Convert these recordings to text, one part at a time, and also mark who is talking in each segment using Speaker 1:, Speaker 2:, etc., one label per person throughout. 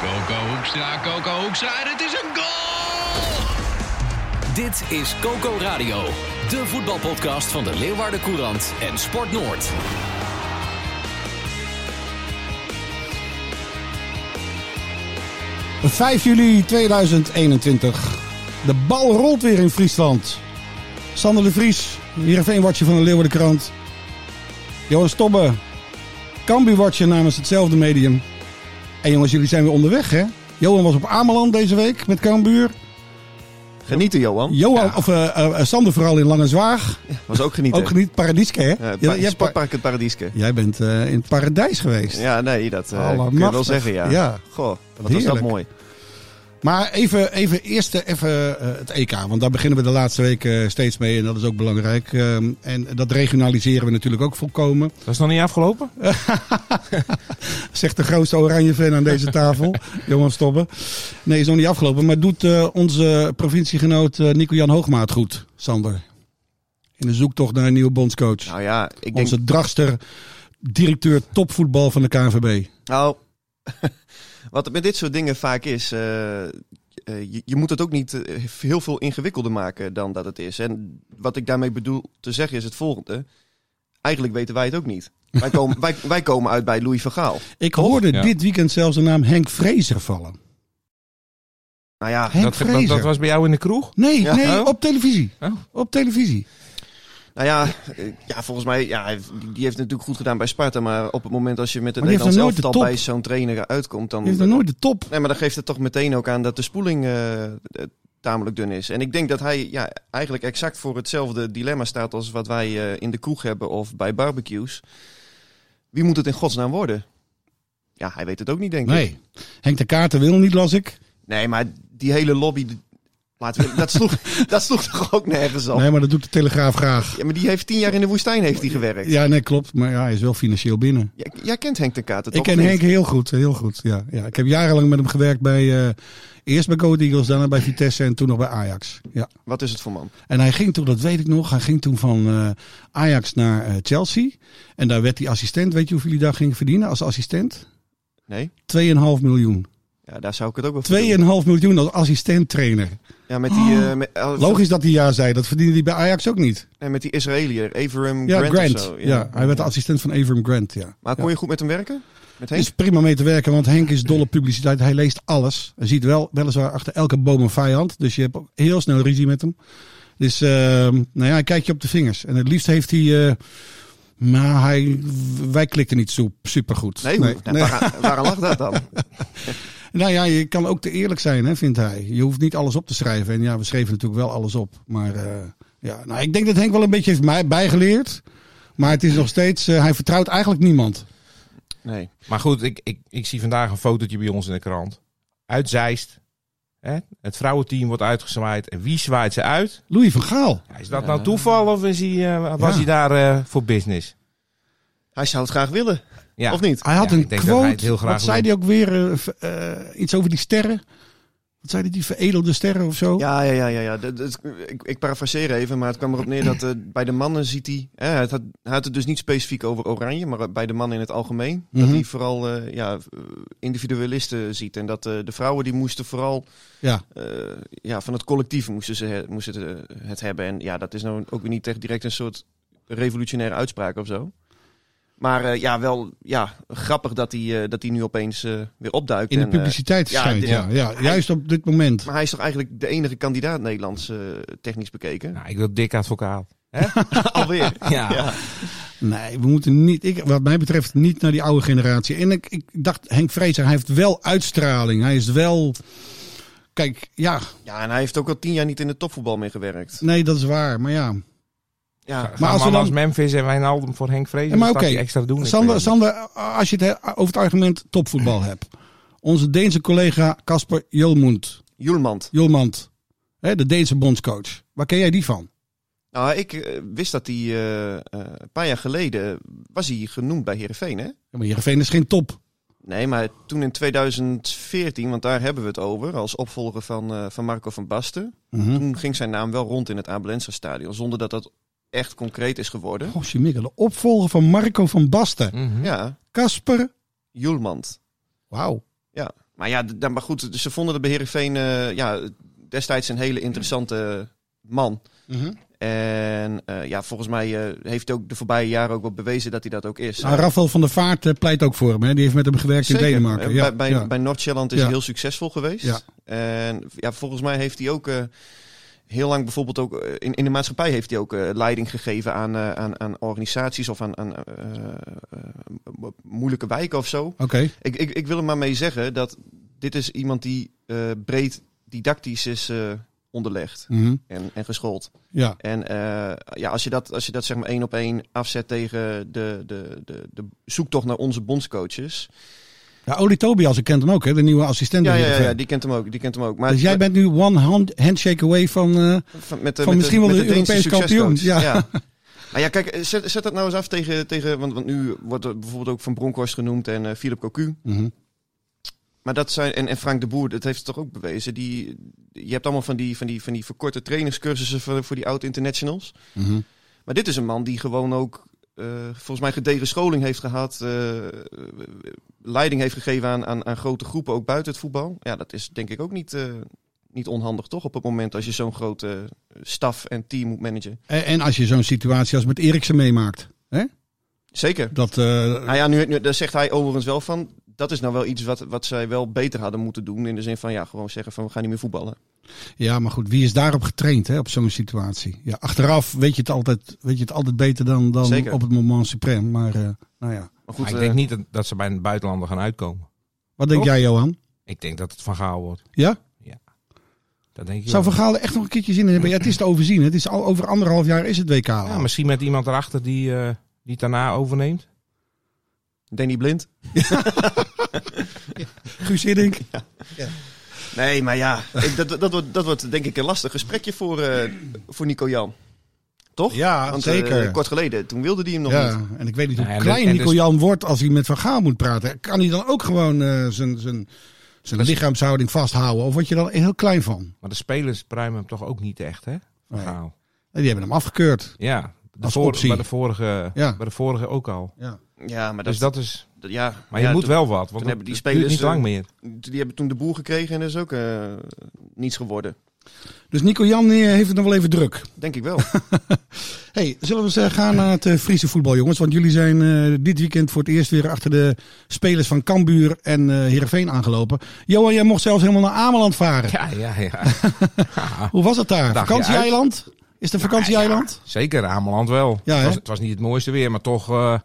Speaker 1: Coco Hoekstra, Coco Hoekstra en het is een goal!
Speaker 2: Dit is Coco Radio, de voetbalpodcast van de Leeuwarden Courant en Sport Noord.
Speaker 3: Op 5 juli 2021. De bal rolt weer in Friesland. Sander de Vries, Heerenveen-watcher van de Leeuwardenkrant. Johan Stobbe, Cambi-watcher namens hetzelfde medium. En jongens, jullie zijn weer onderweg, hè? Johan was op Ameland deze week met Cambuur.
Speaker 4: Genieten, Johan.
Speaker 3: Johan, of eh, eh, eh, Sander vooral in Langenzwaag.
Speaker 4: Was ook genieten.
Speaker 3: Ook geniet Paradijske, hè?
Speaker 4: Eh,
Speaker 3: Jij-
Speaker 4: pa-
Speaker 3: jij,
Speaker 4: Sportpark het Paradiske.
Speaker 3: jij bent eh, in het paradijs geweest.
Speaker 4: Ja, nee, dat eh, kun je wel
Speaker 3: Allemachtig.
Speaker 4: zeggen, ja.
Speaker 3: Oh, Ja.
Speaker 4: Goh, wat was
Speaker 3: Heerlijk.
Speaker 4: dat mooi.
Speaker 3: Maar even, even eerst even, eh, het EK. Want daar beginnen we de laatste weken eh, steeds mee. En dat is ook belangrijk. Ehm, en dat regionaliseren we natuurlijk ook volkomen.
Speaker 5: Dat is nog niet afgelopen?
Speaker 3: Zegt de grootste oranje fan aan deze tafel. Jongens, stoppen. Nee, is nog niet afgelopen. Maar doet eh, onze provinciegenoot eh, Nico-Jan Hoogmaat goed, Sander? In de zoektocht naar een nieuwe bondscoach.
Speaker 4: Nou ja, ik denk...
Speaker 3: onze dragster, directeur topvoetbal van de KNVB.
Speaker 4: Nou, wat het met dit soort dingen vaak is... eh, eh, je, je moet het ook niet eh, heel veel ingewikkelder maken dan dat het is. En wat ik daarmee bedoel te zeggen is het volgende. Eigenlijk weten wij het ook niet. Wij komen, wij, wij komen uit bij Louis van Gaal.
Speaker 3: Ik hoorde
Speaker 5: Ja.
Speaker 3: dit weekend zelfs de naam Henk Vrezer vallen.
Speaker 4: Nou ja,
Speaker 3: Henk
Speaker 5: Dat, dat, dat
Speaker 3: Vrezer?
Speaker 5: was bij jou in de kroeg?
Speaker 3: Nee,
Speaker 4: Ja.
Speaker 3: nee,
Speaker 5: Oh.
Speaker 3: op televisie.
Speaker 5: Oh.
Speaker 3: Op televisie.
Speaker 4: nou ja, eh, ja volgens mij... Ja, hij- die heeft het natuurlijk goed gedaan bij Sparta. Maar op het moment als je met het
Speaker 3: Maar die heeft
Speaker 4: Nederlands
Speaker 3: nog nooit de
Speaker 4: elftal bij
Speaker 3: top.
Speaker 4: zo'n trainer uitkomt... dan
Speaker 3: Die heeft nog nooit de top.
Speaker 4: Nee, maar dan geeft het toch meteen ook aan dat de spoeling eh, eh, tamelijk dun is. En ik denk dat hij ja, eigenlijk exact voor hetzelfde dilemma staat als wat wij eh, in de kroeg hebben of bij barbecues. Wie moet het in godsnaam worden? Ja, hij weet het ook niet, denk ik.
Speaker 3: Nee. Henk de Kaarten wil niet, las ik.
Speaker 4: Nee, maar die hele lobby, die- laten we, dat, sloeg, dat sloeg toch ook nergens op?
Speaker 3: Nee, maar dat doet de Telegraaf graag.
Speaker 4: Ja, maar die heeft tien jaar in de woestijn heeft hij gewerkt.
Speaker 3: Ja, nee, klopt. Maar ja, hij is wel financieel binnen.
Speaker 4: Jij, jij kent Henk de Kater
Speaker 3: ik
Speaker 4: toch?
Speaker 3: ken
Speaker 4: of niet?
Speaker 3: Henk heel goed, heel goed. Ja, ja. Ik heb jarenlang met hem gewerkt bij... eh, eerst bij Go Ahead Eagles, daarna bij Vitesse en toen nog bij Ajax. Ja.
Speaker 4: Wat is het voor man?
Speaker 3: En hij ging toen, dat weet ik nog, hij ging toen van eh, Ajax naar eh, Chelsea. En daar werd hij assistent. Weet je hoeveel hij daar ging verdienen als assistent? 2,5
Speaker 4: Nee?
Speaker 3: miljoen. 2,5
Speaker 4: Ja, daar zou ik het ook wel voor doen.
Speaker 3: miljoen als assistent trainer.
Speaker 4: Ja, met die, eh, met, eh,
Speaker 3: Ah, Logisch dat hij ja zei. Dat verdiende hij bij Ajax ook niet.
Speaker 4: nee, met die Israëliër, Everum
Speaker 3: Ja,
Speaker 4: Grant,
Speaker 3: Grant.
Speaker 4: of zo.
Speaker 3: Ja. hij werd de assistent van Avram Grant. Ja.
Speaker 4: Maar kon je goed met hem werken? Met
Speaker 3: Het
Speaker 4: Henk?
Speaker 3: is prima mee te werken, want Henk is dol op publiciteit. Hij leest alles. Hij ziet wel, weliswaar achter elke boom een vijand. Dus je hebt ook heel snel ruzie met hem. Dus, ehm, nou ja, hij kijkt je op de vingers. En het liefst heeft hij... eh, maar hij, wij klikten niet soep, supergoed.
Speaker 4: Nee, hoe- nou, Waar, waarom lag dat dan?
Speaker 3: Nou ja, je kan ook te eerlijk zijn, hè, vindt hij. Je hoeft niet alles op te schrijven. En ja, we schreven natuurlijk wel alles op. Maar eh, ja, nou, ik denk dat Henk wel een beetje heeft mij bijgeleerd. Maar het is nog steeds... eh, hij vertrouwt eigenlijk niemand.
Speaker 4: Nee.
Speaker 5: Maar goed, ik, ik, ik zie vandaag een fotootje bij ons in de krant. Uit Zeist. Hè? Het vrouwenteam wordt uitgezwaaid. En wie zwaait ze uit?
Speaker 3: Louis van Gaal.
Speaker 5: Ja, is dat nou toeval of is hij, eh, was
Speaker 3: Ja.
Speaker 5: hij daar eh, voor business?
Speaker 4: Hij zou het graag willen,
Speaker 5: Ja.
Speaker 4: of niet?
Speaker 3: Hij had
Speaker 5: Ja,
Speaker 3: een
Speaker 5: ik denk dat hij het
Speaker 3: quote.
Speaker 5: heel graag
Speaker 3: wat zei
Speaker 5: wil.
Speaker 3: hij ook weer? eh, v- eh, iets over die sterren. Wat zei hij? Die veredelde sterren of zo?
Speaker 4: Ja, ja, ja, ja. ja. Dat, dat- ik, ik parafraseer even, maar het kwam erop neer dat eh, bij de mannen ziet hij... hè, het had, hij had het dus niet specifiek over Oranje, maar bij de mannen in het algemeen. Dat
Speaker 3: Mhm.
Speaker 4: hij vooral eh, ja, individualisten ziet. En dat eh, de vrouwen die moesten vooral
Speaker 3: Ja.
Speaker 4: eh, ja, van het collectief moesten, ze, he- moesten het, eh, het hebben. En ja, dat is nou ook weer niet echt direct een soort revolutionaire uitspraak of zo. Maar eh, ja, wel ja, grappig dat hij, eh, dat hij nu opeens eh, weer opduikt.
Speaker 3: In de
Speaker 4: en, eh,
Speaker 3: publiciteit
Speaker 4: ja,
Speaker 3: verschijnt.
Speaker 4: dit-
Speaker 3: Ja, ja, juist op dit moment.
Speaker 4: Maar hij is toch eigenlijk de enige kandidaat Nederlands eh, technisch bekeken?
Speaker 5: Nou, ik wil dik advocaat.
Speaker 4: Alweer.
Speaker 5: Ja.
Speaker 3: Nee, we moeten niet, ik, wat mij betreft, niet naar die oude generatie. En ik, ik dacht, Henk Vrezer, hij heeft wel uitstraling. Hij is wel. Kijk, ja,
Speaker 4: Ja, en hij heeft ook al tien jaar niet in het topvoetbal meer gewerkt.
Speaker 3: nee, dat is waar. Maar ja.
Speaker 4: Ja,
Speaker 5: Maar
Speaker 3: als
Speaker 5: als,
Speaker 3: we dan-
Speaker 5: als Memphis en Wijnaldum voor Henk Vrezen
Speaker 3: Ja, maar
Speaker 5: staat
Speaker 3: oké,
Speaker 5: hij extra doen. Ik
Speaker 3: Sander,
Speaker 5: weet
Speaker 3: Sander, als je het he- over het argument topvoetbal hebt. onze Deense collega Casper Jolmund.
Speaker 4: Joelmand.
Speaker 3: Jolmand, hè, de Deense bondscoach. Waar ken jij die van?
Speaker 4: Nou, ik eh, wist dat hij eh, eh, een paar jaar geleden was hij genoemd bij Heerenveen, hè?
Speaker 3: Ja, maar Heerenveen is geen top.
Speaker 4: Nee, maar toen in 2014, want daar hebben we het over, als opvolger van, eh, van Marco van Basten.
Speaker 3: Mhm.
Speaker 4: Toen ging zijn naam wel rond in het Abelense stadion, zonder dat dat echt concreet is geworden.
Speaker 3: Goh, Mikke, de opvolger van Marco van Basten.
Speaker 5: Mhm.
Speaker 4: Ja,
Speaker 3: Casper,
Speaker 4: Joelmand.
Speaker 3: wauw.
Speaker 4: Ja, maar ja, d- d- maar goed, dus ze vonden dat bij Heerenveen eh, ja, destijds een hele interessante man.
Speaker 3: Mhm.
Speaker 4: En eh, ja, volgens mij eh, heeft hij ook de voorbije jaren ook wel bewezen dat hij dat ook is.
Speaker 3: Nou, Rafael van der Vaart eh, pleit ook voor hem. Hè? Die heeft met hem gewerkt
Speaker 4: Zeker.
Speaker 3: in Denemarken.
Speaker 4: Eh,
Speaker 3: Ja,
Speaker 4: bij bij,
Speaker 3: ja.
Speaker 4: bij Noord-Zeeland is
Speaker 3: Ja.
Speaker 4: hij heel succesvol geweest.
Speaker 3: Ja.
Speaker 4: En ja, volgens mij heeft hij ook eh, heel lang bijvoorbeeld ook eh, in, in de maatschappij heeft hij ook eh, leiding gegeven aan, eh, aan, aan organisaties of aan, aan eh, eh, mo- moeilijke wijken of zo.
Speaker 3: Oké,
Speaker 4: Ik, ik, ik wil er maar mee zeggen dat dit is iemand die eh, breed didactisch is eh, onderlegd
Speaker 3: Mhm.
Speaker 4: en, en geschoold.
Speaker 3: ja.
Speaker 4: En eh, ja, als je dat, als je dat zeg maar één op één afzet tegen de, de, de, de zoektocht naar onze bondscoaches.
Speaker 3: ja. Oli Tobias, ik ken hem ook, hè? de nieuwe assistent.
Speaker 4: Ja,
Speaker 3: bij
Speaker 4: ja, ja,
Speaker 3: Heerenveen.
Speaker 4: ja, die kent hem ook. Die kent hem ook. Maar
Speaker 3: dus jij bent nu one hand, handshake away van... eh,
Speaker 4: van, met, de-
Speaker 3: van
Speaker 4: met
Speaker 3: misschien wel
Speaker 4: met
Speaker 3: de
Speaker 4: Deense
Speaker 3: Europees kampioen,
Speaker 4: succescoach.
Speaker 3: ja.
Speaker 4: Maar ja, kijk, eh, zet, zet dat nou eens af tegen, tegen want, want nu wordt er bijvoorbeeld ook Van Bronckhorst genoemd en eh Philip Cocu.
Speaker 3: mhm.
Speaker 4: Maar dat zijn, en, en Frank de Boer, dat heeft het toch ook bewezen. Die, je hebt allemaal van die, van die, van die verkorte trainingscursussen voor, voor die oud-internationals.
Speaker 3: Mhm.
Speaker 4: Maar dit is een man die gewoon ook eh, volgens mij gedegen scholing heeft gehad. eh, eh, leiding heeft gegeven aan, aan, aan grote groepen, ook buiten het voetbal. Ja, dat is denk ik ook niet, eh, niet onhandig, toch? Op het moment als je zo'n grote eh, staf en team moet managen.
Speaker 3: en, en als je zo'n situatie als met Eriksen meemaakt. Hè?
Speaker 4: Zeker.
Speaker 3: Dat, eh,
Speaker 4: Nou ja, nu, nu, daar zegt hij overigens wel van. Dat is nou wel iets wat, wat zij wel beter hadden moeten doen. In de zin van, ja, gewoon zeggen van, we gaan niet meer voetballen.
Speaker 3: ja, maar goed, wie is daarop getraind hè, op zo'n situatie? Ja, achteraf weet je het altijd, weet je het altijd beter dan, dan
Speaker 4: Zeker.
Speaker 3: op het moment suprem. Maar eh, nou ja,
Speaker 4: Maar goed,
Speaker 5: Maar Ah, ik
Speaker 4: eh,
Speaker 5: denk niet dat, dat ze bij een buitenlander gaan uitkomen.
Speaker 3: wat denk
Speaker 5: Toch?
Speaker 3: jij Johan?
Speaker 5: Ik denk dat het van Gaal wordt.
Speaker 3: Ja?
Speaker 5: Dat denk ik
Speaker 3: Zou
Speaker 5: wel.
Speaker 3: Van Gaal er echt nog een keertje zin in hebben? Ja, het is te overzien. hè. Het is al, over anderhalf jaar is het WK al.
Speaker 5: Ja, misschien met iemand erachter die, eh, die het daarna overneemt.
Speaker 4: Danny Blind.
Speaker 3: Guus Hiddink.
Speaker 4: Nee, maar ja, ik- dat, dat, wordt, dat wordt denk ik een lastig gesprekje voor, eh, voor Nico Jan. Toch?
Speaker 3: Ja,
Speaker 4: Want, eh,
Speaker 3: zeker.
Speaker 4: kort geleden, toen wilde die hem nog niet.
Speaker 3: ja, en ik weet niet hoe
Speaker 5: Nou ja, en
Speaker 3: klein
Speaker 5: dus- en
Speaker 3: Nico
Speaker 5: dus-
Speaker 3: Jan wordt als hij met Van Gaal moet praten. Kan hij dan ook gewoon eh, zijn, zijn, zijn lichaamshouding vasthouden? Of word je dan heel klein van?
Speaker 5: Maar de spelers pruimen hem toch ook niet echt, hè? Van
Speaker 3: Nee.
Speaker 5: Gaal.
Speaker 3: Nee, Die hebben hem afgekeurd.
Speaker 5: Ja. De
Speaker 3: Als
Speaker 5: voor-
Speaker 3: optie.
Speaker 5: bij, de vorige,
Speaker 3: Ja.
Speaker 5: bij de vorige ook al.
Speaker 3: Ja.
Speaker 4: Ja, maar dat,
Speaker 5: dus dat is...
Speaker 4: dat- ja.
Speaker 5: Maar je
Speaker 4: ja,
Speaker 5: moet
Speaker 4: toen-
Speaker 5: wel wat, want
Speaker 4: hebben die
Speaker 5: die spelers
Speaker 4: spelers,
Speaker 5: duurt niet lang
Speaker 4: eh,
Speaker 5: meer.
Speaker 4: Die hebben toen de boer gekregen en dat is ook eh, niets geworden.
Speaker 3: Dus Nico Jan eh, heeft het nog wel even druk.
Speaker 4: Denk ik wel.
Speaker 3: Hey, zullen we eens eh, gaan naar het eh, Friese voetbal, jongens? Want jullie zijn eh, dit weekend voor het eerst weer achter de spelers van Cambuur en eh Heerenveen aangelopen. Johan, jij mocht zelfs helemaal naar Ameland varen.
Speaker 5: Ja, ja, ja. Ja,
Speaker 3: Hoe was het daar?
Speaker 5: Dagje
Speaker 3: vakantieeiland? Is het een vakantieeiland?
Speaker 5: Zeker, Ameland wel.
Speaker 3: Ja,
Speaker 5: het, was,
Speaker 3: hè?
Speaker 5: het was niet het mooiste weer, maar toch, eh,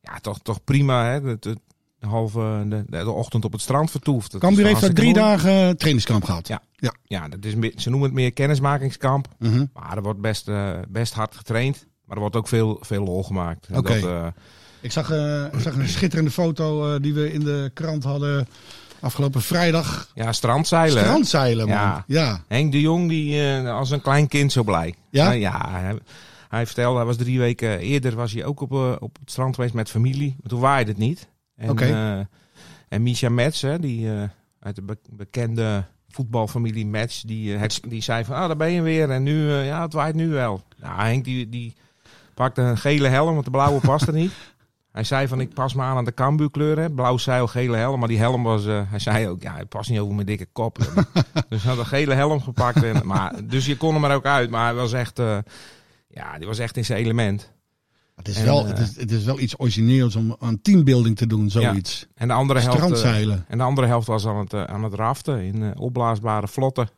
Speaker 5: ja, toch, toch prima. Hè? De, de, de halve, de, de ochtend op het strand vertoefd. Dat
Speaker 3: Cambuur
Speaker 5: is
Speaker 3: heeft daar
Speaker 5: hartstikke
Speaker 3: drie
Speaker 5: mooi.
Speaker 3: dagen eh, trainingskamp gehad.
Speaker 5: Ja.
Speaker 3: Ja.
Speaker 5: Ja, dat is, meer- ze noemen het meer kennismakingskamp.
Speaker 3: Mhm.
Speaker 5: Maar er wordt best, eh, best hard getraind. Maar er wordt ook veel, veel lol gemaakt. En
Speaker 3: Oké.
Speaker 5: Dat, eh,
Speaker 3: Ik, zag, eh, ik zag een schitterende foto eh, die we in de krant hadden afgelopen vrijdag.
Speaker 5: ja, strandzeilen. hè?
Speaker 3: Strandzeilen, man. Ja.
Speaker 5: Ja. Henk de Jong, die eh, als een klein kind zo blij.
Speaker 3: Ja?
Speaker 5: Nou, ja hij, hij vertelde, hij was drie weken eerder was hij ook op, eh, op het strand geweest met familie. Maar toen waaide het niet. En,
Speaker 3: Oké.
Speaker 5: eh, en Misha Metz, hè, die eh, uit de be- bekende voetbalfamilie Metz, die, eh, het- die zei van, ah, daar ben je weer. En nu, eh, ja, het waait nu wel. Nou, Henk die, die pakte een gele helm, want de blauwe past er niet. Hij zei van, ik pas me aan aan de Cambuurkleur, hè. Blauw zeil, gele helm. Maar die helm was, eh, hij zei ook, ja, het past niet over mijn dikke kop. dus hij had een gele helm gepakt. En, maar, dus je kon hem er ook uit. Maar hij was echt, eh, ja, die was echt in zijn element.
Speaker 3: Het, is
Speaker 5: En,
Speaker 3: wel,
Speaker 5: eh,
Speaker 3: het, is, het is wel iets origineels om aan teambuilding te doen, zoiets.
Speaker 5: En de andere helft, eh,
Speaker 3: Strandzeilen
Speaker 5: en de andere helft was aan het, eh, aan het raften in eh, opblaasbare vlotten.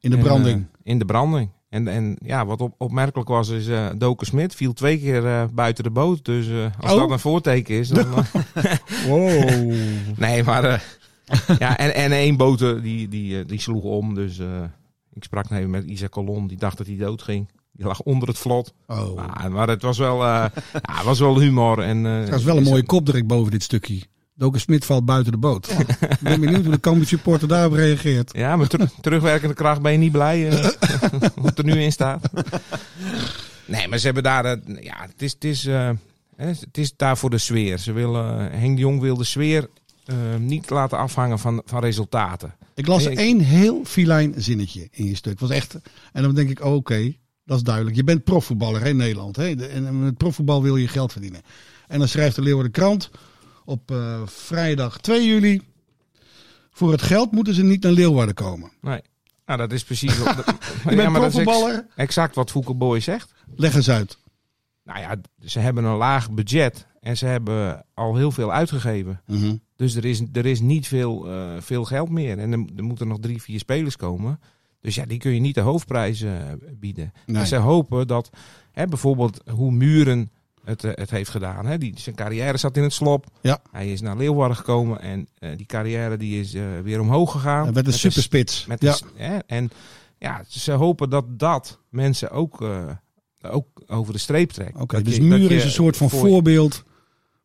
Speaker 3: in de
Speaker 5: En,
Speaker 3: branding.
Speaker 5: eh, in de branding. En, en ja, wat op, opmerkelijk was, is eh Doken Smit viel twee keer eh, buiten de boot. Dus eh, als
Speaker 3: Oh.
Speaker 5: dat een voorteken is, dan... eh,
Speaker 3: Wow.
Speaker 5: Nee, maar. eh, ja, en, en één boter die, die, eh, die sloeg om. Dus eh, ik sprak nog even met Isaac Colon. Die dacht dat hij dood ging. Die lag onder het vlot. Ah,
Speaker 3: Oh.
Speaker 5: Maar, maar het was wel, eh, ja, het was wel humor. En, eh,
Speaker 3: Dat is wel een
Speaker 5: is-
Speaker 3: mooie kopdruk boven dit stukje. Doken Smit valt buiten de boot. Ik ben benieuwd hoe de Cambuur supporter daarop reageert.
Speaker 5: Ja, met ter- terugwerkende kracht ben je niet blij eh, wat er nu in staat. Nee, maar ze hebben daar... eh, ja, het is, het, is, eh, hè, het is daar voor de sfeer. Ze willen, eh, Henk de Jong wil de sfeer eh, niet laten afhangen van, van resultaten.
Speaker 3: Ik las
Speaker 5: Nee, ik-
Speaker 3: één heel filijn zinnetje in je stuk. Was echt, en dan denk ik, oh, oké, dat is duidelijk. Je bent profvoetballer hè, in Nederland. Hè? De- En en met profvoetbal wil je geld verdienen. En dan schrijft de Leeuwarden Krant op eh, vrijdag 2 juli... Voor het geld moeten ze niet naar Leeuwarden komen.
Speaker 5: Nee. Nou, dat is precies... wat-
Speaker 3: Je
Speaker 5: Ja,
Speaker 3: bent
Speaker 5: maar dat is ex-
Speaker 3: profvoetballer,
Speaker 5: exact wat Foukeboy zegt.
Speaker 3: leg eens uit.
Speaker 5: Nou ja, ze hebben een laag budget en ze hebben al heel veel uitgegeven.
Speaker 3: Mhm.
Speaker 5: Dus er is, er is niet veel, eh, veel geld meer. En er, er moeten nog drie, vier spelers komen. Dus ja, die kun je niet de hoofdprijs eh, bieden.
Speaker 3: Nee.
Speaker 5: En ze hopen dat hè, bijvoorbeeld hoe Muren het, eh, het heeft gedaan. Hè? Die, zijn carrière zat in het slop.
Speaker 3: Ja.
Speaker 5: Hij is naar Leeuwarden gekomen en eh, die carrière die is eh, weer omhoog gegaan.
Speaker 3: Hij werd
Speaker 5: Met
Speaker 3: een
Speaker 5: de
Speaker 3: superspits.
Speaker 5: met
Speaker 3: ja.
Speaker 5: ja. hè? En ja, ze hopen dat dat mensen ook, eh, ook over de streep trekt.
Speaker 3: Oké,
Speaker 5: Dat
Speaker 3: dus
Speaker 5: je- dat
Speaker 3: Muur
Speaker 5: je
Speaker 3: is een soort van
Speaker 5: voor-
Speaker 3: voorbeeld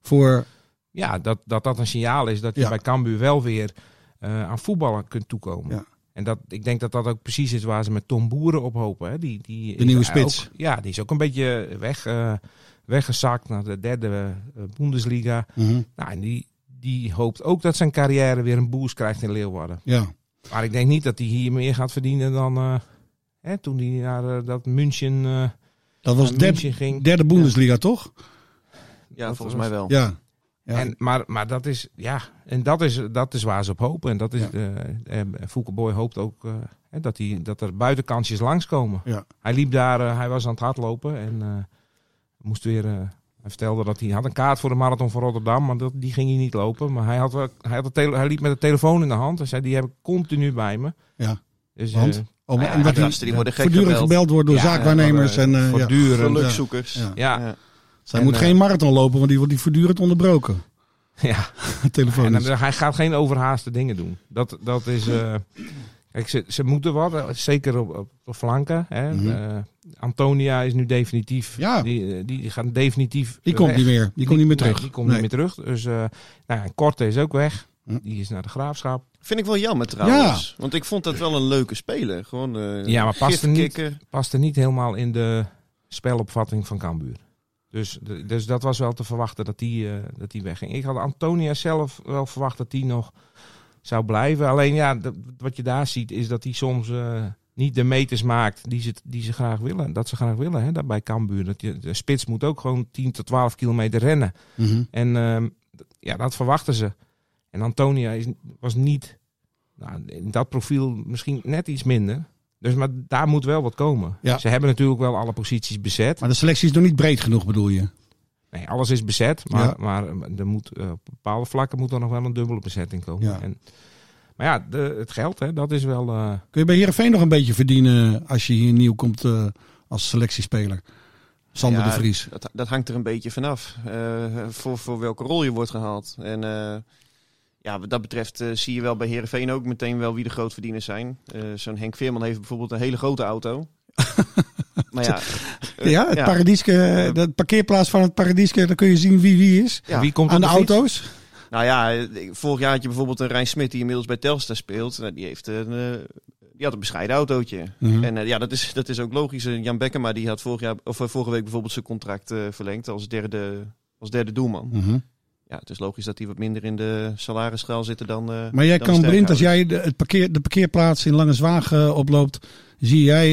Speaker 3: voor...
Speaker 5: Ja, dat, dat dat een signaal is dat je
Speaker 3: Ja.
Speaker 5: bij Cambuur wel weer eh, aan voetballen kunt toekomen.
Speaker 3: Ja.
Speaker 5: En dat, ik denk dat dat ook precies is waar ze met Tom Boeren op hopen. Hè? Die, die
Speaker 3: De
Speaker 5: is
Speaker 3: nieuwe
Speaker 5: ook-
Speaker 3: spits.
Speaker 5: ja, die is ook een beetje weg, eh, weggezakt naar de derde eh, Bundesliga.
Speaker 3: Mhm,
Speaker 5: Nou, en die, die hoopt ook dat zijn carrière weer een boost krijgt in Leeuwarden.
Speaker 3: Ja.
Speaker 5: Maar ik denk niet dat hij hier meer gaat verdienen dan eh, hè, toen hij naar eh, dat München, eh,
Speaker 3: Dat
Speaker 5: naar
Speaker 3: was derde,
Speaker 5: München ging.
Speaker 3: derde Bundesliga, toch?
Speaker 4: Ja,
Speaker 5: Dat
Speaker 4: volgens
Speaker 5: was-
Speaker 4: mij wel.
Speaker 3: Ja. ja.
Speaker 5: En, maar maar dat, is, ja, en dat, is, dat is waar ze op hopen. En dat is,
Speaker 3: Ja.
Speaker 5: eh, eh, Foukeboy hoopt ook eh, hè, dat, hij, dat er buitenkantjes langskomen.
Speaker 3: Ja.
Speaker 5: Hij liep daar, eh, hij was aan het hardlopen en eh, moest weer... eh, hij vertelde dat hij had een kaart voor de marathon van Rotterdam, maar dat, die ging hij niet lopen. Maar hij, had, wel- hij, had de tele- hij liep met de telefoon in de hand en zei, die heb ik continu bij me.
Speaker 3: Ja.
Speaker 5: Dus,
Speaker 3: Want?
Speaker 5: eh,
Speaker 3: Om-
Speaker 5: nou ja,
Speaker 3: omdat
Speaker 4: die
Speaker 3: hij
Speaker 4: gasten die worden gek
Speaker 3: voortdurend gebeld.
Speaker 4: gebeld.
Speaker 3: wordt door
Speaker 5: Ja,
Speaker 3: zaakwaarnemers. En, eh, ja.
Speaker 5: voortdurend.
Speaker 4: Gelukzoekers.
Speaker 3: Ja.
Speaker 5: Ja,
Speaker 4: Ja.
Speaker 3: Dus hij
Speaker 5: En,
Speaker 3: moet
Speaker 5: eh,
Speaker 3: geen marathon lopen, want die wordt die voortdurend onderbroken.
Speaker 5: ja. En
Speaker 3: Telefoon.
Speaker 5: dan- hij gaat geen overhaaste dingen doen. Dat, dat is. eh, kijk, ze, ze moeten wat, eh, zeker op, op de flanken. Hè.
Speaker 3: Mhm.
Speaker 5: Eh, Antonia is nu definitief.
Speaker 3: Ja.
Speaker 5: Die, eh, die, die gaat definitief.
Speaker 3: Die komt
Speaker 5: weg.
Speaker 3: niet meer. Die komt niet meer
Speaker 5: Nee,
Speaker 3: terug.
Speaker 5: die komt
Speaker 3: Nee.
Speaker 5: niet meer terug. Dus eh nou, ja, Korte is ook weg.
Speaker 3: Hm.
Speaker 5: Die is naar de graafschap.
Speaker 4: Vind ik wel jammer trouwens. Want ik vond dat wel een leuke speler. Gewoon eh
Speaker 5: Ja, maar past er niet.
Speaker 4: gifkikker.
Speaker 5: Paste niet helemaal in de spelopvatting van Cambuur. Dus, de- dus dat was wel te verwachten dat die, eh, dat die wegging. Ik had Antonia zelf wel verwacht dat die nog zou blijven. Alleen ja, dat- wat je daar ziet is dat hij soms eh, niet de meters maakt die ze, die ze graag willen. Dat ze graag willen hè, daar bij Cambuur. Dat je, de spits moet ook gewoon 10 tot 12 kilometer rennen.
Speaker 3: Mhm.
Speaker 5: En ehm, d- ja, dat verwachten ze. En Antonia is, was niet nou, in dat profiel misschien net iets minder. Dus maar daar moet wel wat komen.
Speaker 3: Ja.
Speaker 5: Ze hebben natuurlijk wel alle posities bezet.
Speaker 3: Maar de selectie is nog niet breed genoeg, bedoel je?
Speaker 5: Nee, alles is bezet, maar,
Speaker 3: Ja.
Speaker 5: maar eh, er moet, eh, op bepaalde vlakken moet er nog wel een dubbele bezetting komen.
Speaker 3: Ja.
Speaker 5: En, maar ja, de, het geld, hè, dat is wel... eh,
Speaker 3: Kun je bij Heerenveen nog een beetje verdienen als je hier nieuw komt eh, als selectiespeler? Sander
Speaker 4: Ja,
Speaker 3: de Vries.
Speaker 4: Dat, dat hangt er een beetje vanaf. eh, voor, voor welke rol je wordt gehaald. En eh, ja, wat dat betreft eh, zie je wel bij Herenveen ook meteen wel wie de grootverdieners zijn. Eh, Zo'n Henk Veerman heeft bijvoorbeeld een hele grote auto. maar ja, eh,
Speaker 3: ja, het paradieske, eh, de parkeerplaats van het paradieske, dan kun je zien wie wie is.
Speaker 4: ja.
Speaker 5: Wie komt
Speaker 3: Aan de
Speaker 5: op fiets?
Speaker 3: auto's.
Speaker 4: Nou ja, eh, vorig jaar had je bijvoorbeeld een Rijn Smit die inmiddels bij Telstar speelt. Nou, die, heeft een, eh, die had een bescheiden autootje.
Speaker 3: Mhm.
Speaker 4: En eh, ja, dat is, dat is ook logisch. Eh, Jan Bekkema die had vorig jaar, of, eh, vorige week bijvoorbeeld zijn contract eh, verlengd als derde, als derde doelman.
Speaker 3: Mhm.
Speaker 4: Ja, het is logisch dat die wat minder in de salarisschaal zitten dan. eh,
Speaker 3: Maar jij
Speaker 4: dan
Speaker 3: kan, Blind, als
Speaker 4: sterkhouders.
Speaker 3: jij de, het parkeer, de parkeerplaats in Lange Zwagen oploopt, zie jij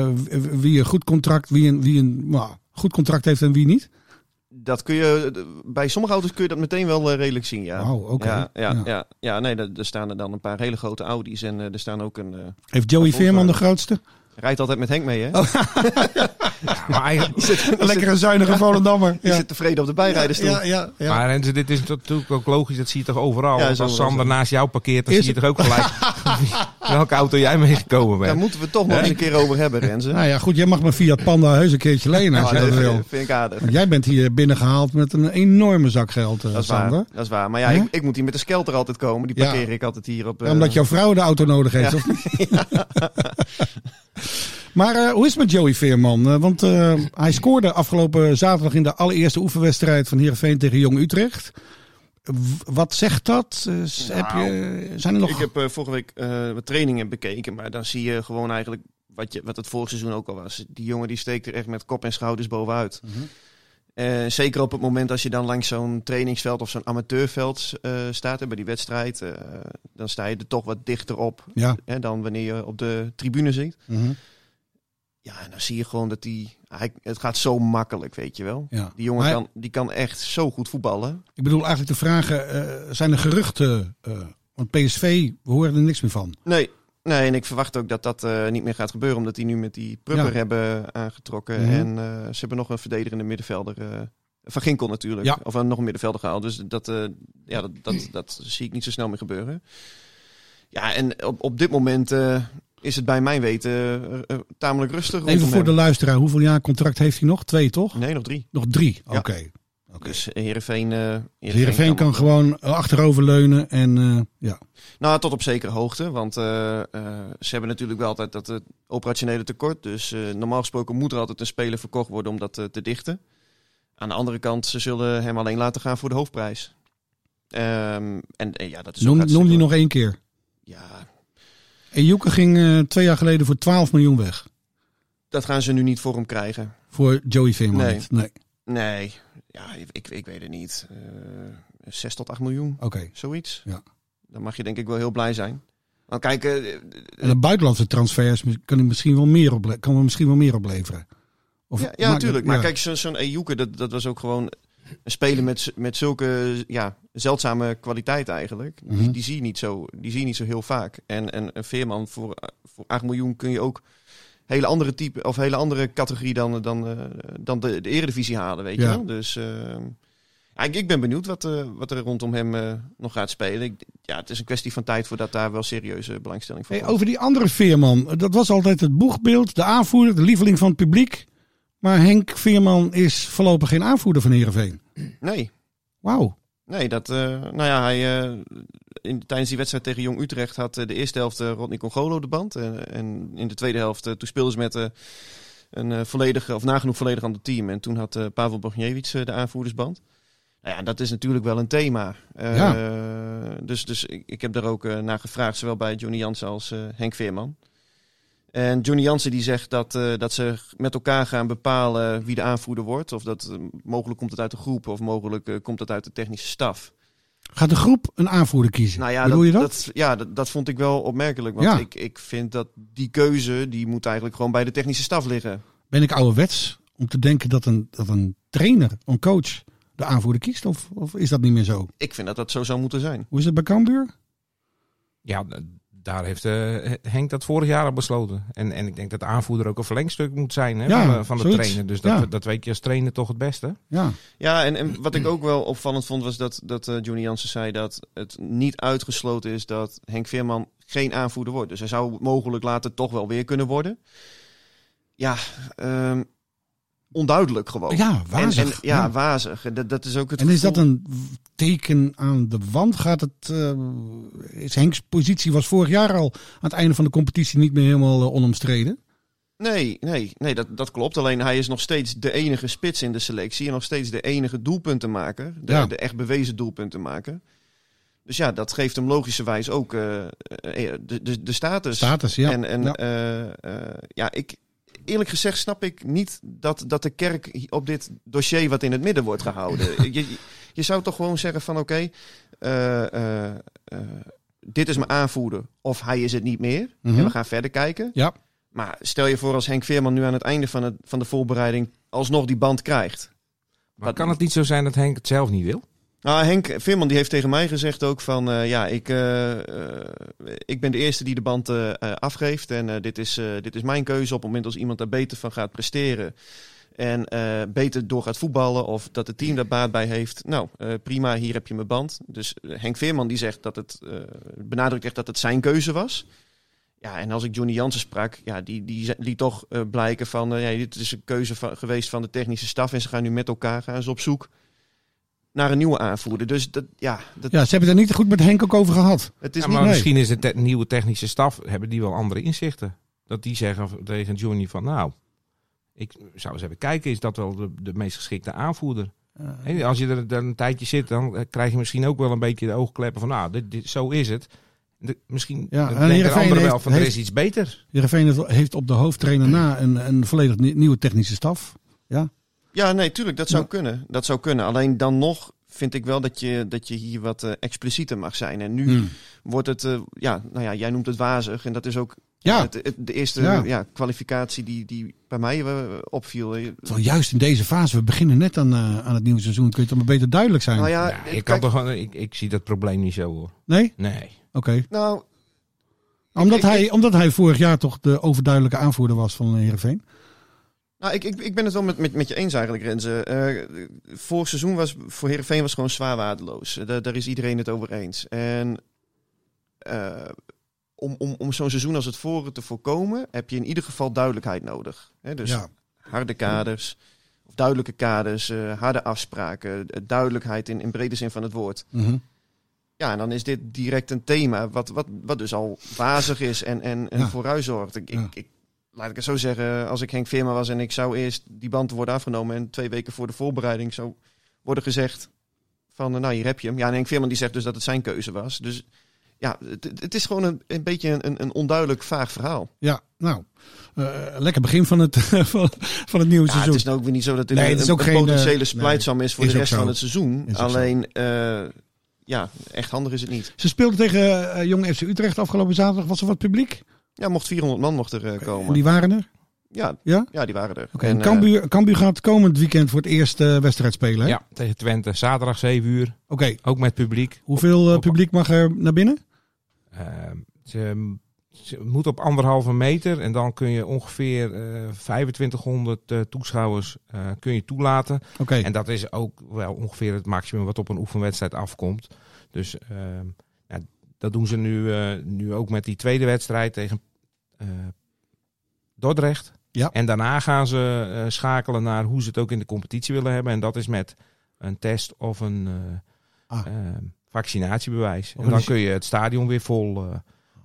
Speaker 3: eh, w- wie een goed contract, wie een, wie een nou, goed contract heeft en wie niet?
Speaker 4: Dat kun je, eh, bij sommige auto's kun je dat meteen wel eh, redelijk zien, ja.
Speaker 3: Wauw, oké.
Speaker 4: Ja, ja,
Speaker 3: Ja.
Speaker 4: ja. ja, nee, er er staan er dan een paar hele grote Audi's en eh, er staan ook een... eh,
Speaker 3: Heeft Joey
Speaker 4: Dat voelt
Speaker 3: Veerman de
Speaker 4: wel.
Speaker 3: grootste?
Speaker 4: rijdt altijd met Henk mee,
Speaker 3: Oh,
Speaker 4: hè?
Speaker 5: Maar, Nou, eigenlijk-
Speaker 3: Lekkere zuinige Volendammer.
Speaker 4: Die
Speaker 3: Ja.
Speaker 4: zit tevreden op de bijrijdersstoel.
Speaker 3: Ja, ja, ja.
Speaker 5: maar Renze, dit is natuurlijk ook logisch, dat zie je toch overal.
Speaker 4: Ja,
Speaker 5: Want
Speaker 4: is
Speaker 5: als
Speaker 4: overal
Speaker 5: Sander naast jou parkeert, dan
Speaker 3: Is
Speaker 5: zie je toch ook gelijk welke auto jij meegekomen bent.
Speaker 4: Daar moeten we het toch nog eens een keer over hebben, Renze.
Speaker 3: Nou ja, goed, jij mag mijn Fiat Panda heus een keertje lenen als
Speaker 4: Ja,
Speaker 3: je dat
Speaker 4: dat
Speaker 3: wil.
Speaker 4: vind ik aardig.
Speaker 3: Want jij bent hier binnengehaald met een enorme zak geld, eh,
Speaker 4: Dat is waar.
Speaker 3: Sander.
Speaker 4: Dat is waar. Maar ja,
Speaker 3: Hè?
Speaker 4: ik, ik moet hier met de skelter altijd komen. Die
Speaker 3: Ja.
Speaker 4: parkeer ik altijd hier op. eh,
Speaker 3: Ja, omdat jouw vrouw de auto nodig heeft, of niet? maar eh, hoe is het met Joey Veerman? Eh, want eh, hij scoorde afgelopen zaterdag in de allereerste oefenwedstrijd van Heerenveen tegen Jong Utrecht. w- wat zegt dat? Eh, s-
Speaker 4: Nou,
Speaker 3: heb je, zijn er nog...
Speaker 4: Ik heb eh, vorige week eh, wat trainingen bekeken, maar dan zie je gewoon eigenlijk wat, je, wat het vorig seizoen ook al was. Die jongen die steekt er echt met kop en schouders bovenuit.
Speaker 3: Mhm.
Speaker 4: Eh, zeker op het moment als je dan langs zo'n trainingsveld of zo'n amateurveld eh, staat hè, bij die wedstrijd, eh, dan sta je er toch wat dichter op
Speaker 3: Ja.
Speaker 4: hè, dan wanneer je op de tribune zit.
Speaker 3: Mhm.
Speaker 4: Ja, en dan zie je gewoon dat die, hij, het gaat zo makkelijk, weet je wel.
Speaker 3: ja.
Speaker 4: Die jongen
Speaker 3: Maar-
Speaker 4: kan, die kan echt zo goed voetballen.
Speaker 3: Ik bedoel eigenlijk de vragen, eh, zijn er geruchten? eh, want PSV, we horen er niks meer van.
Speaker 4: Nee, nee, en ik verwacht ook dat dat eh, niet meer gaat gebeuren. Omdat die nu met die Prupper
Speaker 3: Ja.
Speaker 4: hebben aangetrokken.
Speaker 3: Mhm.
Speaker 4: En eh, ze hebben nog een verdedigende middenvelder. eh, van Ginkel natuurlijk.
Speaker 3: Ja.
Speaker 4: Of eh, nog een middenvelder gehaald. Dus dat, eh, ja, dat, dat, dat zie ik niet zo snel meer gebeuren. Ja, en op, op dit moment eh, is het bij mijn weten eh, eh, tamelijk rustig.
Speaker 3: Even
Speaker 4: rondom
Speaker 3: voor de
Speaker 4: hem.
Speaker 3: luisteraar, hoeveel jaar contract heeft hij nog? Twee toch?
Speaker 4: Nee, nog drie.
Speaker 3: Nog drie, oké.
Speaker 4: Ja.
Speaker 3: Oké.
Speaker 4: Dus Heerenveen... eh
Speaker 3: Dus Heerenveen kan
Speaker 4: wel-
Speaker 3: gewoon eh, achteroverleunen en eh, ja.
Speaker 4: Nou, tot op zekere hoogte. Want eh, eh, ze hebben natuurlijk wel altijd dat eh, operationele tekort. Dus eh, normaal gesproken moet er altijd een speler verkocht worden om dat eh, te dichten. Aan de andere kant, ze zullen hem alleen laten gaan voor de hoofdprijs. Ehm, en, eh, ja, dat is ook
Speaker 3: Noem,
Speaker 4: hartstikke-
Speaker 3: noem die nog één keer.
Speaker 4: Ja,
Speaker 3: En Joeken ging eh, twee jaar geleden voor 12 miljoen weg.
Speaker 4: dat gaan ze nu niet voor hem krijgen.
Speaker 3: Voor Joey Veerman.
Speaker 4: Nee.
Speaker 3: niet. nee.
Speaker 4: Nee, ja, ik, ik weet het niet. Eh 6 tot 8 miljoen,
Speaker 3: Oké.
Speaker 4: zoiets.
Speaker 3: Ja.
Speaker 4: Dan mag je denk ik wel heel blij zijn. Want kijk, eh,
Speaker 3: En de buitenlandse transfers kan hij misschien wel meer, ople- kan er misschien wel meer opleveren. Of
Speaker 4: ja, ja
Speaker 3: maakt-
Speaker 4: natuurlijk. Maar
Speaker 3: ja.
Speaker 4: kijk, zo- zo'n Ejuke, dat, dat was ook gewoon een speler met, z- met zulke ja, zeldzame kwaliteit eigenlijk. Die-
Speaker 3: Mhm.
Speaker 4: die, zie je niet zo, die zie je niet zo heel vaak. En, en een Veerman voor, eh, voor 8 miljoen kun je ook hele andere type of hele andere categorie dan, dan, eh, dan de, de eredivisie halen, weet
Speaker 3: Ja.
Speaker 4: je wel. Dus eh, ja, ik, ik ben benieuwd wat, eh, wat er rondom hem eh, nog gaat spelen. Ik, ja, het is een kwestie van tijd voordat daar wel serieuze belangstelling voor
Speaker 3: Hey,
Speaker 4: komt.
Speaker 3: over die andere Veerman. Dat was altijd het boegbeeld, de aanvoerder, de lieveling van het publiek. Maar Henk Veerman is voorlopig geen aanvoerder van Heerenveen.
Speaker 4: Nee,
Speaker 3: Wauw.
Speaker 4: Nee, dat, eh, nou ja, hij, eh, in, tijdens die wedstrijd tegen Jong Utrecht had eh, de eerste helft eh, Rodney Congolo de band. En, en in de tweede helft, eh, toen speelden ze met eh, een eh volledige, of nagenoeg volledig aan het team. En toen had eh, Pavel Bogniewicz eh, de aanvoerdersband. Nou ja, dat is natuurlijk wel een thema. Eh, Dus, dus ik, ik heb daar ook eh, naar gevraagd, zowel bij Johnny Jansen als eh, Henk Veerman. En Johnny Jansen die zegt dat, eh, dat ze met elkaar gaan bepalen wie de aanvoerder wordt. Of dat eh, mogelijk komt het uit de groep of mogelijk eh, komt het uit de technische staf.
Speaker 3: Gaat de groep een aanvoerder kiezen?
Speaker 4: Nou ja,
Speaker 3: Bedoel je dat?
Speaker 4: ja, dat, dat vond ik wel opmerkelijk. Want
Speaker 3: Ja.
Speaker 4: ik, ik vind dat die keuze, die moet eigenlijk gewoon bij de technische staf liggen.
Speaker 3: Ben ik ouderwets om te denken dat een, dat een trainer, een coach, de aanvoerder kiest? Of, of is dat niet meer zo?
Speaker 4: Ik vind dat dat zo zou moeten zijn.
Speaker 3: Hoe is het bij Cambuur?
Speaker 5: Ja, d- daar heeft eh, Henk dat vorig jaar al besloten. En, en ik denk dat de aanvoerder ook een verlengstuk moet zijn hè,
Speaker 3: Ja,
Speaker 5: van de, van de
Speaker 3: zoiets.
Speaker 5: trainer. Dus dat,
Speaker 3: Ja.
Speaker 5: dat weet je als trainer toch het beste.
Speaker 3: Ja.
Speaker 4: Ja, en, en wat ik ook wel opvallend vond was dat, dat eh, Johnny Jansen zei dat het niet uitgesloten is dat Henk Veerman geen aanvoerder wordt. Dus hij zou mogelijk later toch wel weer kunnen worden. Ja, ehm, onduidelijk gewoon.
Speaker 3: Ja, wazig.
Speaker 4: Oh. En, en, ja, wazig. En Dat, dat is ook het
Speaker 3: En is dat
Speaker 4: gevoel-
Speaker 3: een teken aan de wand? Gaat het, eh, is Henks positie was vorig jaar al aan het einde van de competitie niet meer helemaal eh, onomstreden.
Speaker 4: Nee, nee, nee dat, dat klopt. Alleen hij is nog steeds de enige spits in de selectie. En nog steeds de enige doelpuntenmaker. De,
Speaker 3: Ja.
Speaker 4: de echt bewezen doelpuntenmaker. Dus ja, dat geeft hem logischerwijs ook eh, eh, de, de, de status.
Speaker 3: Status, ja.
Speaker 4: En, en
Speaker 3: Ja.
Speaker 4: ja, ja ik, eerlijk gezegd snap ik niet dat, dat de kerk op dit dossier wat in het midden wordt gehouden. je, je zou toch gewoon zeggen van oké, eh, eh, eh, dit is mijn aanvoerder of hij is het niet meer.
Speaker 3: Mhm.
Speaker 4: En we gaan verder kijken.
Speaker 3: Ja.
Speaker 4: Maar stel je voor als Henk Veerman nu aan het einde van, het, van de voorbereiding alsnog die band krijgt.
Speaker 5: Maar
Speaker 4: Wat-
Speaker 5: kan het niet zo zijn dat Henk het zelf niet wil?
Speaker 4: Nou, Henk Veerman die heeft tegen mij gezegd ook van... eh, ja, ik, eh, eh, ik ben de eerste die de band eh, eh, afgeeft. En eh, dit, is, eh, dit is mijn keuze op het moment als iemand daar beter van gaat presteren. En eh, beter door gaat voetballen of dat het team daar baat bij heeft. Nou, eh, prima, hier heb je mijn band. Dus eh, Henk Veerman die zegt dat het, eh, benadrukt echt dat het zijn keuze was. Ja, en als ik Johnny Jansen sprak, ja, die, die ze- liet toch eh, blijken van... eh, ja, dit is een keuze van, geweest van de technische staf en ze gaan nu met elkaar gaan ze op zoek naar een nieuwe aanvoerder. Dus dat, ja, dat,
Speaker 3: Ja, ze hebben het er niet goed met Henk ook over gehad.
Speaker 4: het is
Speaker 5: Ja,
Speaker 4: niet...
Speaker 5: maar
Speaker 3: nee.
Speaker 5: misschien is de te- nieuwe technische staf, hebben die wel andere inzichten. Dat die zeggen v- tegen Johnny van nou, ik zou eens even kijken, is dat wel de, de meest geschikte aanvoerder?
Speaker 3: Eh,
Speaker 5: Hey, Als je er dan een tijdje zit, dan eh, krijg je misschien ook wel een beetje de oogkleppen van, nou, dit, dit- zo is het. De- misschien
Speaker 3: Ja, en
Speaker 5: ja, denken de
Speaker 3: Heerenveen
Speaker 5: anderen wel
Speaker 3: heeft-
Speaker 5: van, er
Speaker 3: heeft-
Speaker 5: is iets beter.
Speaker 3: Heerenveen heeft- heeft op de hoofdtrainer na een, een volledig ni- nieuwe technische staf.
Speaker 4: Ja, nee, tuurlijk, dat zou
Speaker 3: Ja.
Speaker 4: kunnen. Dat zou kunnen. Alleen dan nog vind ik wel dat je, dat je hier wat eh, explicieter mag zijn. En nu
Speaker 3: Hmm.
Speaker 4: wordt het, eh, ja, nou ja, jij noemt het wazig. En dat is ook
Speaker 3: Ja,
Speaker 4: het- het- de eerste
Speaker 3: Ja.
Speaker 4: ja. kwalificatie die, die bij mij eh, opviel. Eh,
Speaker 3: terwijl juist in deze fase, we beginnen net aan, eh, aan het nieuwe seizoen, kun je toch maar beter duidelijk zijn?
Speaker 4: Nou ja,
Speaker 5: Ja,
Speaker 4: eh,
Speaker 5: je kan
Speaker 4: kijk,
Speaker 5: toch, gewoon- ik, ik zie dat probleem niet zo hoor.
Speaker 3: Nee?
Speaker 5: Nee.
Speaker 3: Oké.
Speaker 4: nou,
Speaker 3: Omdat,
Speaker 4: Ik- ik-
Speaker 3: hij, omdat hij vorig jaar toch de overduidelijke aanvoerder was van Heerenveen.
Speaker 4: Nou, ik, ik, ik ben het wel met, met, met je eens eigenlijk, Renze. Eh vorig seizoen was voor Heerenveen was gewoon zwaar waardeloos. Eh, daar, daar is iedereen het over eens. En eh, om, om, om zo'n seizoen als het voren te voorkomen, heb je in ieder geval duidelijkheid nodig. Hè, dus
Speaker 3: ja.
Speaker 4: harde kaders, of duidelijke kaders, eh, harde afspraken, eh, duidelijkheid in, in brede zin van het woord.
Speaker 3: Mhm.
Speaker 4: Ja, en dan is dit direct een thema wat, wat, wat dus al wazig is en, en, en
Speaker 3: Ja.
Speaker 4: vooruit zorgt. Ik,
Speaker 3: Ja.
Speaker 4: ik, ik, laat ik het zo zeggen, als ik Henk Veerman was en ik zou eerst die band worden afgenomen... en twee weken voor de voorbereiding zou worden gezegd van, eh, nou, hier heb je hem. Ja, en Henk Veerman die zegt dus dat het zijn keuze was. Dus ja, het, het- het is gewoon een, een beetje een- een, een onduidelijk vaag verhaal.
Speaker 3: ja, nou. eh, lekker begin van het, van, van het nieuwe
Speaker 4: Ja, het
Speaker 3: seizoen.
Speaker 4: is nou ook weer niet zo dat dit
Speaker 3: Nee,
Speaker 4: een,
Speaker 3: het is
Speaker 4: een
Speaker 3: ook geen, eh,
Speaker 4: potentiële splijtsam is voor
Speaker 3: is
Speaker 4: de
Speaker 3: ook
Speaker 4: rest
Speaker 3: zo.
Speaker 4: van het seizoen.
Speaker 3: Is ook zo.
Speaker 4: Alleen, eh, ja, echt handig is het niet.
Speaker 3: Ze speelden tegen eh, Jong FC Utrecht afgelopen zaterdag. Was er wat publiek?
Speaker 4: Ja, mocht 400 man mocht er eh,
Speaker 3: En
Speaker 4: komen.
Speaker 3: die waren er.
Speaker 4: Ja,
Speaker 3: Ja?
Speaker 4: ja? die waren er.
Speaker 3: Oké.
Speaker 4: En,
Speaker 3: en
Speaker 4: eh,
Speaker 3: Cambuur, Cambuur gaat komend weekend voor het eerst eh, wedstrijd spelen. hè?
Speaker 5: Ja, tegen Twente. Zaterdag 7 uur.
Speaker 3: Oké.
Speaker 5: Ook met publiek.
Speaker 3: Hoeveel eh, publiek mag er naar binnen?
Speaker 5: Eh, ze, ze moet op anderhalve meter. En dan kun je ongeveer eh 2500 eh, toeschouwers eh, kun je toelaten.
Speaker 3: Oké.
Speaker 5: En dat is ook wel ongeveer het maximum wat op een oefenwedstrijd afkomt. Dus ehm, ja, dat doen ze nu, eh, nu ook met die tweede wedstrijd tegen eh, Dordrecht.
Speaker 3: Ja.
Speaker 5: En daarna gaan ze eh, schakelen naar hoe ze het ook in de competitie willen hebben. En dat is met een test of een eh,
Speaker 3: Ah.
Speaker 5: ehm, vaccinatiebewijs.
Speaker 3: Of
Speaker 5: en dan
Speaker 3: een-
Speaker 5: kun je het stadion weer vol. eh,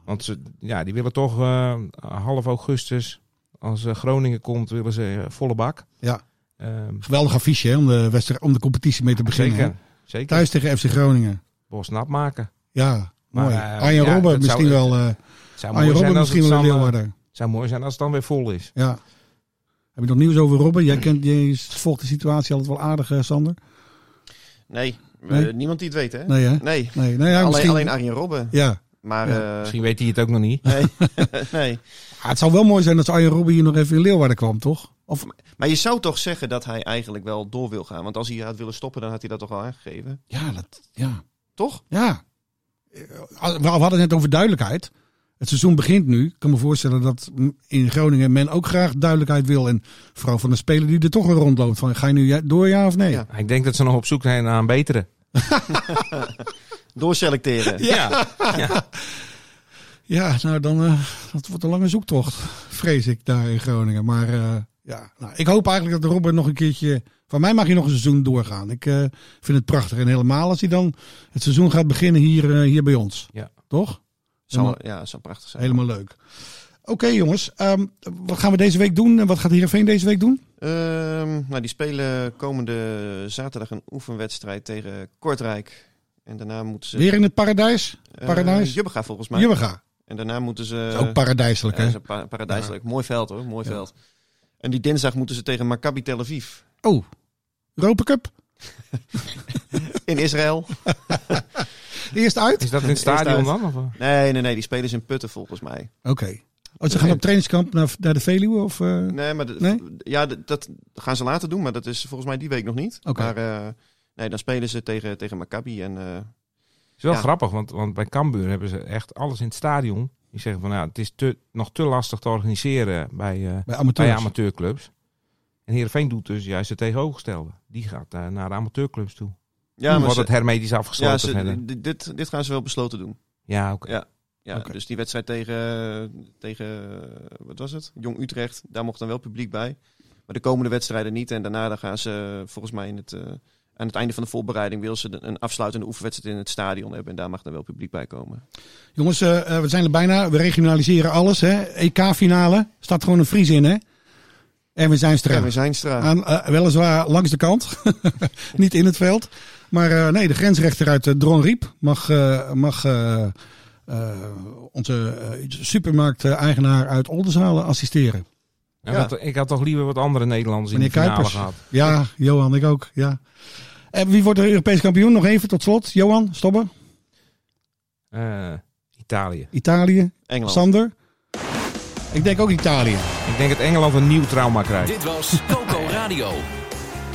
Speaker 5: want ze, ja, die willen toch eh, half augustus, als eh, Groningen komt, willen ze eh, volle bak.
Speaker 3: Ja.
Speaker 5: Ehm,
Speaker 3: Geweldig affiche hè, om, de wedstrijd, om de competitie mee te beginnen.
Speaker 5: Zeker.
Speaker 3: hè?
Speaker 5: Zeker.
Speaker 3: Thuis tegen FC Groningen.
Speaker 5: Bos nat maken.
Speaker 3: Ja,
Speaker 5: Maar,
Speaker 3: mooi.
Speaker 5: eh,
Speaker 3: Arjen
Speaker 5: ja, dat
Speaker 3: Robben
Speaker 5: zou-
Speaker 3: misschien wel. eh
Speaker 5: Het Zou
Speaker 3: Arjen Robben misschien
Speaker 5: het
Speaker 3: wel een
Speaker 5: dan, eh,
Speaker 3: Leeuwarder.
Speaker 5: zou mooi zijn als het dan weer vol is.
Speaker 3: Ja. Heb je nog nieuws over Robben? Jij kent, jij volgt de situatie altijd wel aardig, eh, Sander.
Speaker 4: Nee,
Speaker 3: Nee?
Speaker 4: eh, niemand die het weet, hè? Nee.
Speaker 3: Nee, hè? Nee, nee, ja,
Speaker 4: alleen,
Speaker 3: misschien-
Speaker 4: alleen Arjen Robben.
Speaker 3: Ja.
Speaker 4: Maar
Speaker 3: Ja,
Speaker 4: eh,
Speaker 5: Misschien weet hij het ook nog niet.
Speaker 4: nee. nee.
Speaker 3: Ah, het zou wel mooi zijn dat Arjen Robben hier nog even in Leeuwarden kwam, toch? Of,
Speaker 4: Maar je zou toch zeggen dat hij eigenlijk wel door wil gaan. Want als hij had willen stoppen, dan had hij dat toch al aangegeven.
Speaker 3: ja, dat, ja.
Speaker 4: Toch?
Speaker 3: ja. Eh, We hadden het net over duidelijkheid. Het seizoen begint nu. Ik kan me voorstellen dat mm, in Groningen men ook graag duidelijkheid wil. En vooral van de speler die er toch een rondloopt. Van, ga je nu ja- door, ja of nee?
Speaker 4: Ja.
Speaker 5: Ik denk dat ze nog op zoek zijn naar een betere.
Speaker 4: Doorselecteren.
Speaker 5: Ja.
Speaker 3: Ja, nou dan eh, dat wordt een lange zoektocht, vrees ik daar in Groningen. Maar eh, ja, nou, ik hoop eigenlijk dat Robert nog een keertje. Van mij mag hij nog een seizoen doorgaan. Ik eh, vind het prachtig. En helemaal als hij dan het seizoen gaat beginnen hier, eh, hier bij ons.
Speaker 5: Ja.
Speaker 3: Toch?
Speaker 4: Zou, ja, zou prachtig zijn.
Speaker 3: Helemaal leuk. Oké jongens, ehm, wat gaan we deze week doen? En wat gaat Heerenveen deze week doen?
Speaker 4: Ehm, nou, die spelen komende zaterdag een oefenwedstrijd tegen Kortrijk. En daarna moeten ze...
Speaker 3: Weer in het paradijs?
Speaker 4: eh,
Speaker 3: Paradijs?
Speaker 4: Jubbega volgens mij.
Speaker 3: Jubbega.
Speaker 4: En daarna moeten ze...
Speaker 3: Ook paradijselijk
Speaker 4: Eh,
Speaker 3: hè?
Speaker 4: Ja, dat is een pa- paradijselijk. Mooi veld hoor, mooi veld. En die dinsdag moeten ze tegen Maccabi Tel Aviv
Speaker 3: Oh, Europa Cup.
Speaker 4: in Israël.
Speaker 3: Eerst uit?
Speaker 5: Is dat in het stadion
Speaker 4: uit.
Speaker 5: dan? Of? eh?
Speaker 4: Nee, nee, nee, die spelen ze in Putten volgens mij.
Speaker 3: Oké. Oh, ze gaan op trainingskamp naar, naar de Veluwe? Of, eh?
Speaker 4: Nee, maar de-
Speaker 3: Nee?
Speaker 4: Ja, de- dat gaan ze later doen, maar dat is volgens mij die week nog niet.
Speaker 3: Oké.
Speaker 4: Maar eh, nee, dan spelen ze tegen, tegen Maccabi. En, eh,
Speaker 5: is wel
Speaker 4: Ja.
Speaker 5: grappig, want, want bij Cambuur hebben ze echt alles in het stadion. Die zeggen van, nou, het is te, nog te lastig te organiseren bij, eh,
Speaker 3: Bij amateurs?
Speaker 4: Ah
Speaker 5: bij amateurclubs. En Heerenveen doet dus juist het tegenovergestelde. Die gaat eh, naar de amateurclubs toe.
Speaker 4: ja,
Speaker 5: wordt
Speaker 4: ze-
Speaker 5: het hermetisch afgesloten
Speaker 4: ja, ze-
Speaker 5: verder.
Speaker 4: di- dit, dit gaan ze wel besloten doen.
Speaker 5: Ja, oké.
Speaker 4: Ja. Ja,
Speaker 3: Oké.
Speaker 4: Dus die wedstrijd tegen, tegen, eh, wat was het? Jong Utrecht, daar mocht dan wel publiek bij. Maar de komende wedstrijden niet. En daarna dan gaan ze eh, volgens mij in het, eh, aan het einde van de voorbereiding... wil ze de- een afsluitende oefenwedstrijd in het stadion hebben. En daar mag dan wel publiek bij komen.
Speaker 3: Jongens, eh, eh, E we zijn er bijna. We regionaliseren alles. hè. EK-finale. Staat gewoon een Fries in, hè? Erwin Zijnstra.
Speaker 4: Erwin Zijnstra.
Speaker 3: Aan, eh, weliswaar langs de kant, niet in het veld. Maar eh, nee, de grensrechter uit eh, Dronriep mag, eh, mag eh, eh, onze eh, supermarkt-eigenaar uit Oldenzaal assisteren.
Speaker 5: Ja,
Speaker 4: Ja.
Speaker 5: Nou, want ik had toch liever wat andere Nederlanders in
Speaker 3: Meneer
Speaker 5: de finale
Speaker 3: Kuipers.
Speaker 5: gehad.
Speaker 3: Ja, Johan, ik ook. Ja. En wie wordt er Europees kampioen? Nog even tot slot. Johan, Stobbe,
Speaker 5: Eh, Italië.
Speaker 3: Italië,
Speaker 4: Engeland.
Speaker 3: Sander. Ik denk ook Italië.
Speaker 5: Ik denk dat Engeland een nieuw trauma krijgt.
Speaker 2: Dit was Coco Radio.